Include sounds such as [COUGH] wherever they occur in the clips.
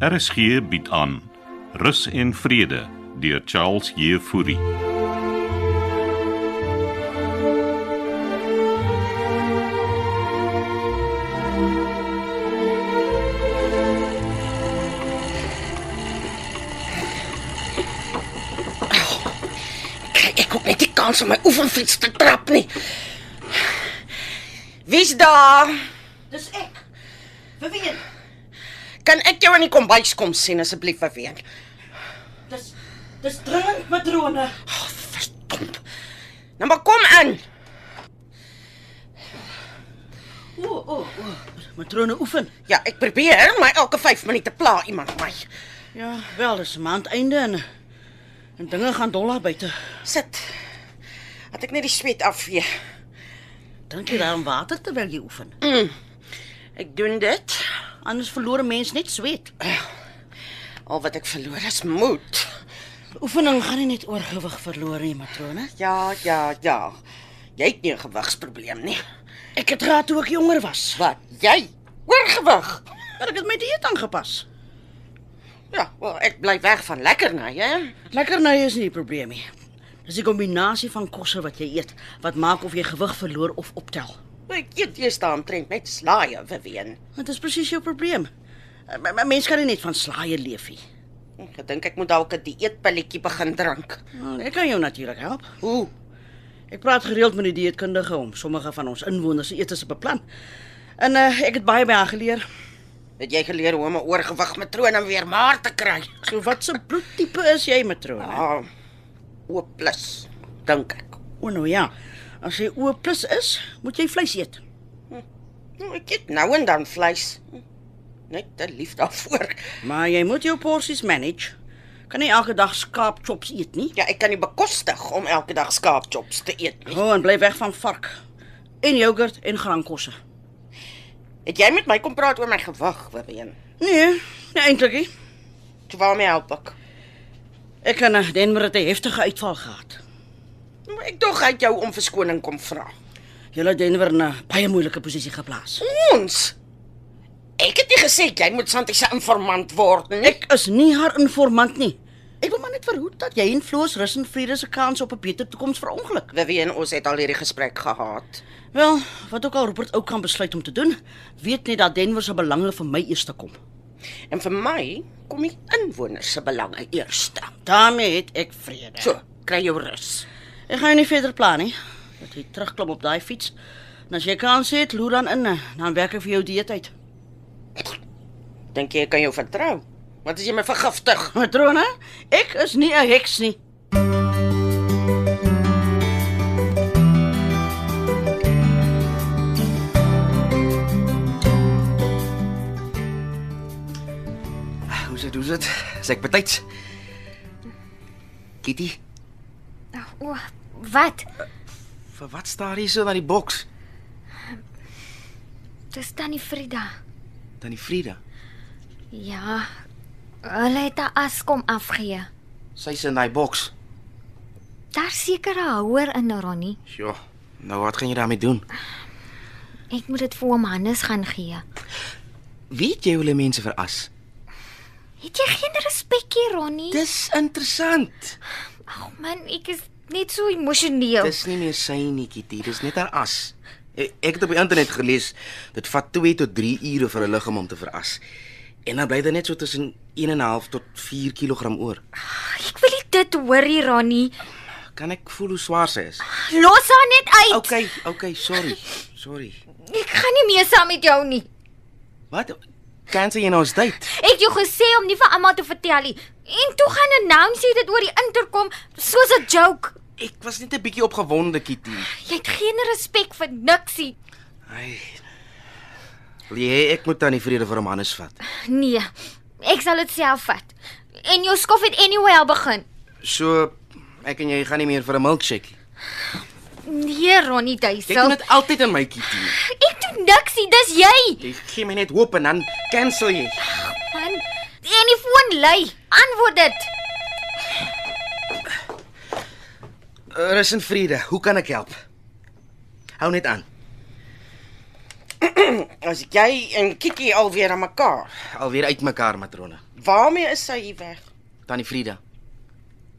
RSG bied aan Rus en Vrede deur Charles Jefouri. Kry ek ook net die kans om my oefenfiets te trap nie. Wie's daar? Dis ek. Vivian, Kan ek jou in die kombuis kom sien asseblief verween? dis dis dringend patrone. Oh, verdomp. Nou maar kom in. O, o, o. Matrone oefen. Ja, ek probeer, maar elke 5 minute pla iemand my. Ja, wel, dis 'n maand einde en en dinge gaan dollar buite. Sit. Het ek net die sweet afvee. Dink jy daarom water terwyl jy oefen? Ek doen dit. Anders verloor 'n mens net sweet. Al wat ek verloor is moed. Oefening gaan nie net oor gewig verloor nie, matrone. Ja, ja, ja. Jy het nie 'n gewigsprobleem nie. Ek het raad toe ek jonger was. Wat? Jy oorgewig. Maar ek het my dieet aangepas. Ja, wel ek bly weg van lekkerny, hè? Lekkerny nou is nie die probleem nie. Dis die kombinasie van kosse wat jy eet wat maak of jy gewig verloor of optel. Nou, Ek eet eers daar omtrent net slaaië verween. Dit is presies jou probleem. Eh, Mense kan nie net van slaaië leef nie. Ek gedink ek moet dalk 'n dieetpilletjie begin drink. Nou, Ek kan jou natuurlik help. Hoe? Ek praat gereeld met die dieetkundige om sommige van ons inwoners se etes te beplan. En uh, ek het baie by haar geleer. Het jy geleer hoe om 'n oorgewig matroon om weer maar te kry? So wat se bloedtipe is jy, matrone? Ah, O+, plus, dink ek. O nou ja. As jy O+ is, moet jy vleis eet. Nou, Ek eet nou en dan vleis. Net te lief daarvoor. Maar jy moet jou porsies manage. Kan nie elke dag skaapchops eet nie. Ja, ek kan nie bekostig om elke dag skaapchops te eet nie. O, oh, en bly weg van vark en jogurt en graankosse. Het jy met my kom praat oor my gewig, Wibeen? Nee, nee eintlik nie. Toe wou my help ek. Ek kan na Denver het 'n heftige uitval gehad. Maar Nou, ek dog uit jou om verskoning kom vra. Julle Denver in 'n baie moeilike posisie geplaas. Ons. Ek het nie gesê jy moet Santi se informant word nie. Ek is nie haar informant nie. Ek wil maar net verhoed dat jy en Floos rus en vrede se kans op 'n beter toekoms verongeluk. Wivien, ons het al hierdie gesprek gehad. Wel, wat ook al Robert ook kan besluit om te doen, weet net dat Denver se belange vir my eers te kom. En vir my kom die inwoners se belange eerste. Daarmee het ek vrede. So, kry jou rus. ek gaan jou nie verder plan nie. Dat jy terugklim op daai fiets. En as jy kans het, loer dan in, eh, dan werk ek vir jou dieet uit. [LAUGHS] Dink jy ek kan jou vertrou? Wat as jy my vergiftig? Matrone, ek is nie 'n heks nie. Ah, Hoe sit, hoe sit? Is ek betyds? Kitty, Ah, O, wat? vir wat staar jy so na die boks? Dis tannie Frida. Dan die Frida. Ja. Hulle het haar askom afgee. Sy's in daai boks. Daar seker 'n houer in Ronnie. Sjoe. Nou wat gaan jy daarmee doen? Ek moet dit vir hom Hannes gaan gee. Weet jy hoe hulle mense veras? Het jy geen respekie Ronnie? Dis interessant. Ag man, ek is net so emosioneel. Dis nie meer sy nie, Kitty, dis net haar as. E- Ek het op die internet gelees dit vat 2 tot 3 ure vir 'n liggaam om te veras. En dan bly dit net so tussen 1.5 tot 4 kg oor. Ah, Ek wil nie dit hoor nie Ronnie. Kan ek voel hoe swaar sy is? Los haar net uit. Okay, okay, sorry. Sorry. Ek gaan nie meer saam met jou nie. Wat? Kan sy jy nou ons date? Ek het jou gesê om nie vir almal te vertel nie. En toe gaan announce jy dit oor die interkom soos 'n joke. Ek was net 'n bietjie opgewonde, Kitty. Jy het geen respek vir niksie. Ai. Wil jy hê ek moet aan die vrede vir hom Hannes vat? Nee, ek sal dit self vat. En jou skof het anyway al begin. So ek en jy gaan nie meer vir 'n milkshake nie. Nee, Ronnie Jy doen Duisel. dit altyd aan my, Kitty. Ek doen niks nie, dis jy. Jy gee my net hoop en dan cancel jy. Eh, Man, en die foon lui. Antwoord dit. Rus in vrede. Hoe kan ek help? Hou net aan. As jy en Kitty alweer aan mekaar. Alweer uitmekaar matrone. Waarmee is sy hier weg? Tannie Frida.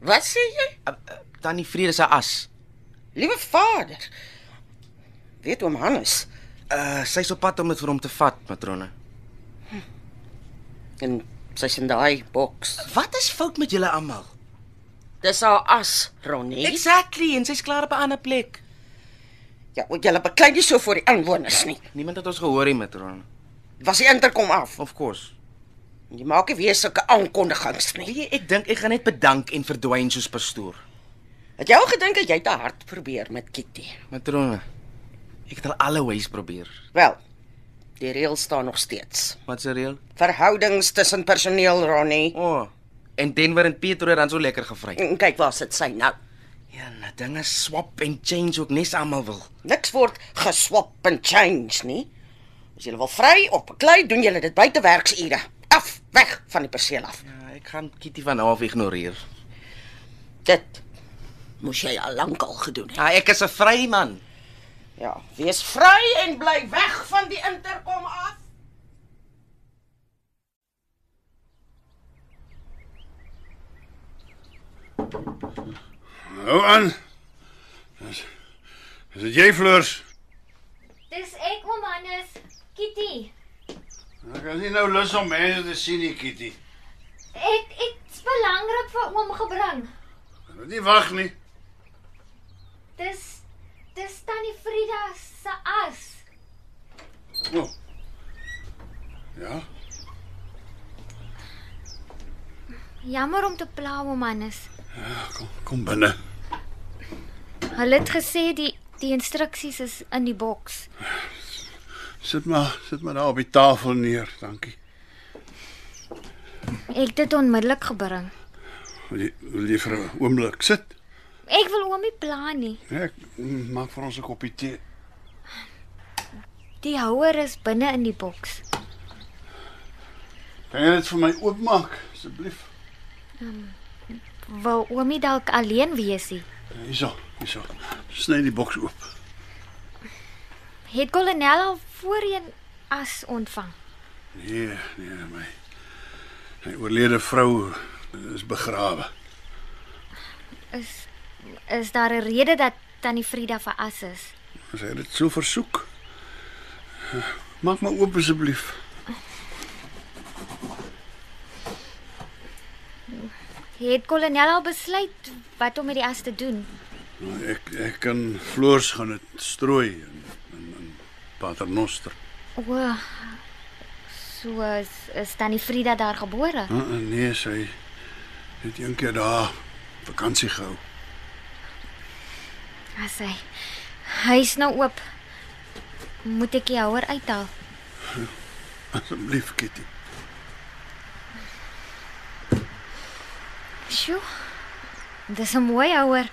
Wat sê jy? Uh, uh, Tannie Frida se as. Liewe vader. Weet oom Hannes Uh sy's op pad om dit vir hom te vat matrone. en sy's in daai boks. Wat is fout met julle almal? Dis haar as, Ronnie. Exactly, en sy's klaar op 'n ander plek. Ja, want julle beklei nie so vir die inwoners nie. Niemand het ons gehoor nie matrone. Was die interkom af. Of course. Jy maak nie weer sulke aankondigings nie. Nee, ek dink ek gaan net bedank en verdwyn soos pastoor. Het jy al gedink dat jy te hard probeer met Kitty? Matrone. Ek het al alle ways probeer. Wel, die reël staan nog steeds. Wat se reël? Verhoudings tussen personeel, Ronnie. O. Oh, en Denver en Pietro het dan so lekker gevry. En kyk waar sit sy nou. Ja, nou dinge swap en change ook nes almal wil. Niks word geswap en change nie. As jy wil vry op beklei, doen jy dit buite werksure. Af, weg van die perseel af. Ja, ek gaan Kitty van haar af ignoreer. Dit moes jy al lank al gedoen het. Ja, ek is 'n vry man. Ja, wees vry en bly weg van die interkom af. Hou aan. Is dit jy Fleurs? Dis ek oom Hannes, Kitty. Ek is nie nou lus om mense te sien nie, Kitty. Ek ek's belangrik vir oom gebring. Moet nie wag nie. Dis dis tannie Frida se as. Oh. Ja. Jammer om te pla oom Hannes. Kom, kom binne. Hulle het gesê die die instruksies is in die boks. Sit maar, sit maar daar op die tafel neer, dankie. Ek het dit onmiddellik gebring. Wil jy wil jy vir 'n oomblik sit? Ek wil oomie pla nie. Ja, ek mm, maak vir ons 'n koppie tee. Die houer is binne in die boks. Kan jy dit vir my oopmaak asseblief? Wil oomie dalk alleen wees? nie? Hierso, hierso. Sny die boks oop. Het kolonel al voorheen as ontvang? Nee, nee, my. My oorlede vrou is begrawe. Is is daar 'n rede dat tannie Frida vir as is? As hy dit sou versoek. Maak maar oop asseblief. Het kolonel al besluit wat om met die as te doen? Nou, Ek ek kan floors gaan dit strooi in in, in Paternoster. O. So is, is tannie Frida daar gebore. Uh, uh, nee, sy het een keer daar vakansie gehou. As hy hy's nou oop. Moet ek die houer uithaal? Asseblief, Kitty. Sjoe. Dis 'n mooi houer.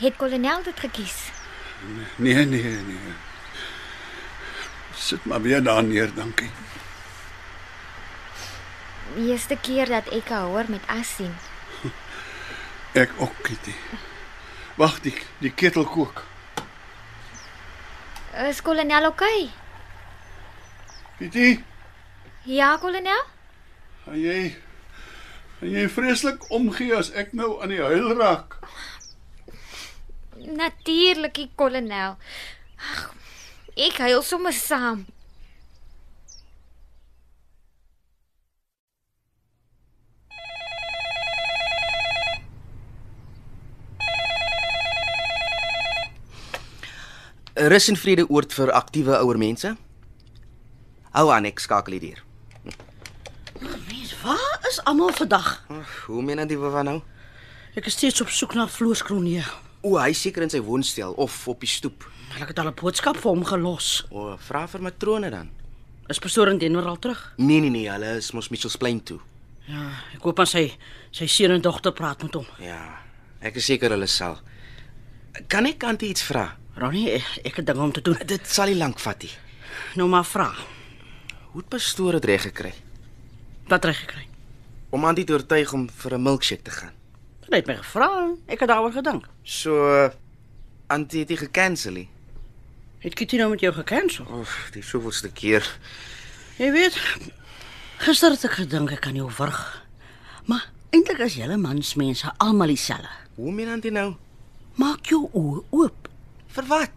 Het kolonel dit gekies? Nee, nee, nee. Sit maar weer daar neer, dankie. Die eerste keer dat ek 'n houer met as sien. Ek ook, Kitty. Wag, die die ketel kook. Is kolonel oukei? Okay? Kitty, Ja, kolonel. gaan jy gaan jy vreeslik omgee as ek nou aan die huil raak? Natuurlik, die kolonel. Ag, Ek huil sommer saam. Rus en vrede oord vir aktiewe ouer mense. Hou aan, ek skakel hier deur. Mens, waar is almal vandag? Ag, Hoe meen dit wat nou? Ek is steeds op soek na Floors Kroonje. O, hy is seker in sy woonstel of op die stoep. Maar ek het al 'n boodskap vir hom gelos. O, vra vir matrone dan. Is pastoor in Denver al terug? Nee nee nee, hulle is mos Mitchells Plain toe. Ja, ek hoop aan sy sy seun en dogter praat met hom. Ja, ek is seker hulle sal. Kan ek aan iets vra? Ronnie, ek, ek het dinge om te doen. Dit sal nie lank vat nie. Nou maar vra. Hoe het pastoor dit reg gekry Wat reg gekry? om Antie te oortuig om vir 'n milkshake te gaan? Hulle het my gevra. Ek het daaroor gedink. So Antie het dit gekansel. nie? Het Kitty nou met jou gekansel? Oef, die soveelste keer. Jy weet, gister het ek gedink ek kan jou wurg. Maar eintlik is julle mansmense almal dieselfde. Hoe meen jy dit nou? Maak jou oë oop. Vir wat?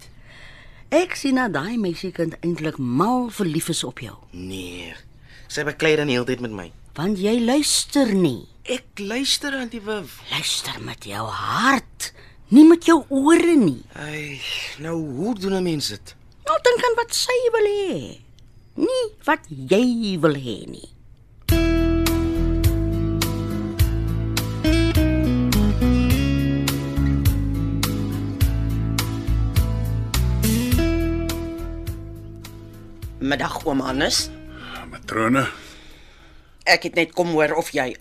Ek sien dat daai meisiekind eintlik mal verlief is op jou, Nee. Sy beklei dan heeltyd met my. want jy luister nie. Ek luister aan die wif. Luister met jou hart, nie met jou ore nie. Ai, nou hoe doen 'n mens dit? Nou dink aan wat sy wil hê, nie wat jy wil hê nie. Middag oom Hannes. Matrone, Ek het net kom hoor of jy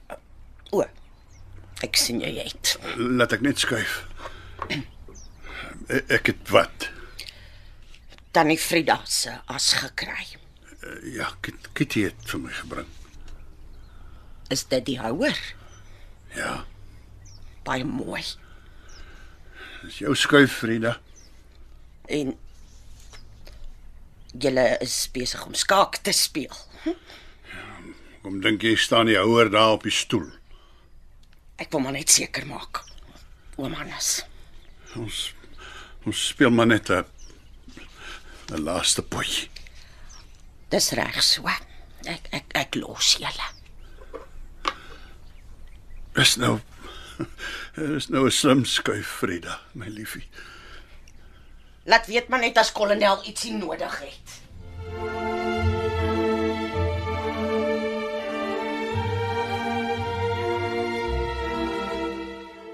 O. Ek sien jy het. laat ek net skuif. E- Ek het wat? Tannie Frida se as gekry. Ja, Kit- Kitty het vir my gebring. Is dit die houer? Ja, Baie mooi. dis jou skuif, Frida. En julle is besig om skaak te speel. Kom dink jy staan die houer daar op die stoel. Ek wil maar net seker maak. Oom Hannes. Ons ons speel maar net 'n 'n laaste potjie. Dis reg so. Ek ek ek los julle. Dis nou [LAUGHS] Dis nou 'n slim skuif, Frida, my liefie. Laat weet maar net as kolonel ietsie nodig het.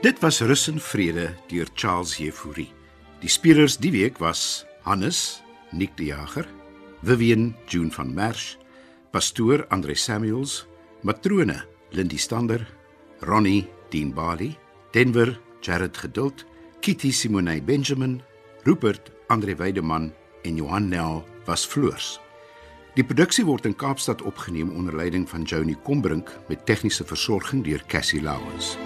Dit was Rus en Vrede deur Charles Jefouri. Die spelers die week was Hannes, Nick die Jager, Vivian June van Merch, pastoor Andre Samuels, matrone Lindie Stander, Ronnie Dean Bali, Denver Jared Geduld, Kitty Simone Benjamin, Rupert Andre Weideman en Johan Nel was floors. Die produksie word in Kaapstad opgeneem onder leiding van Johnny Combrink met tegniese versorging deur Cassie Louws.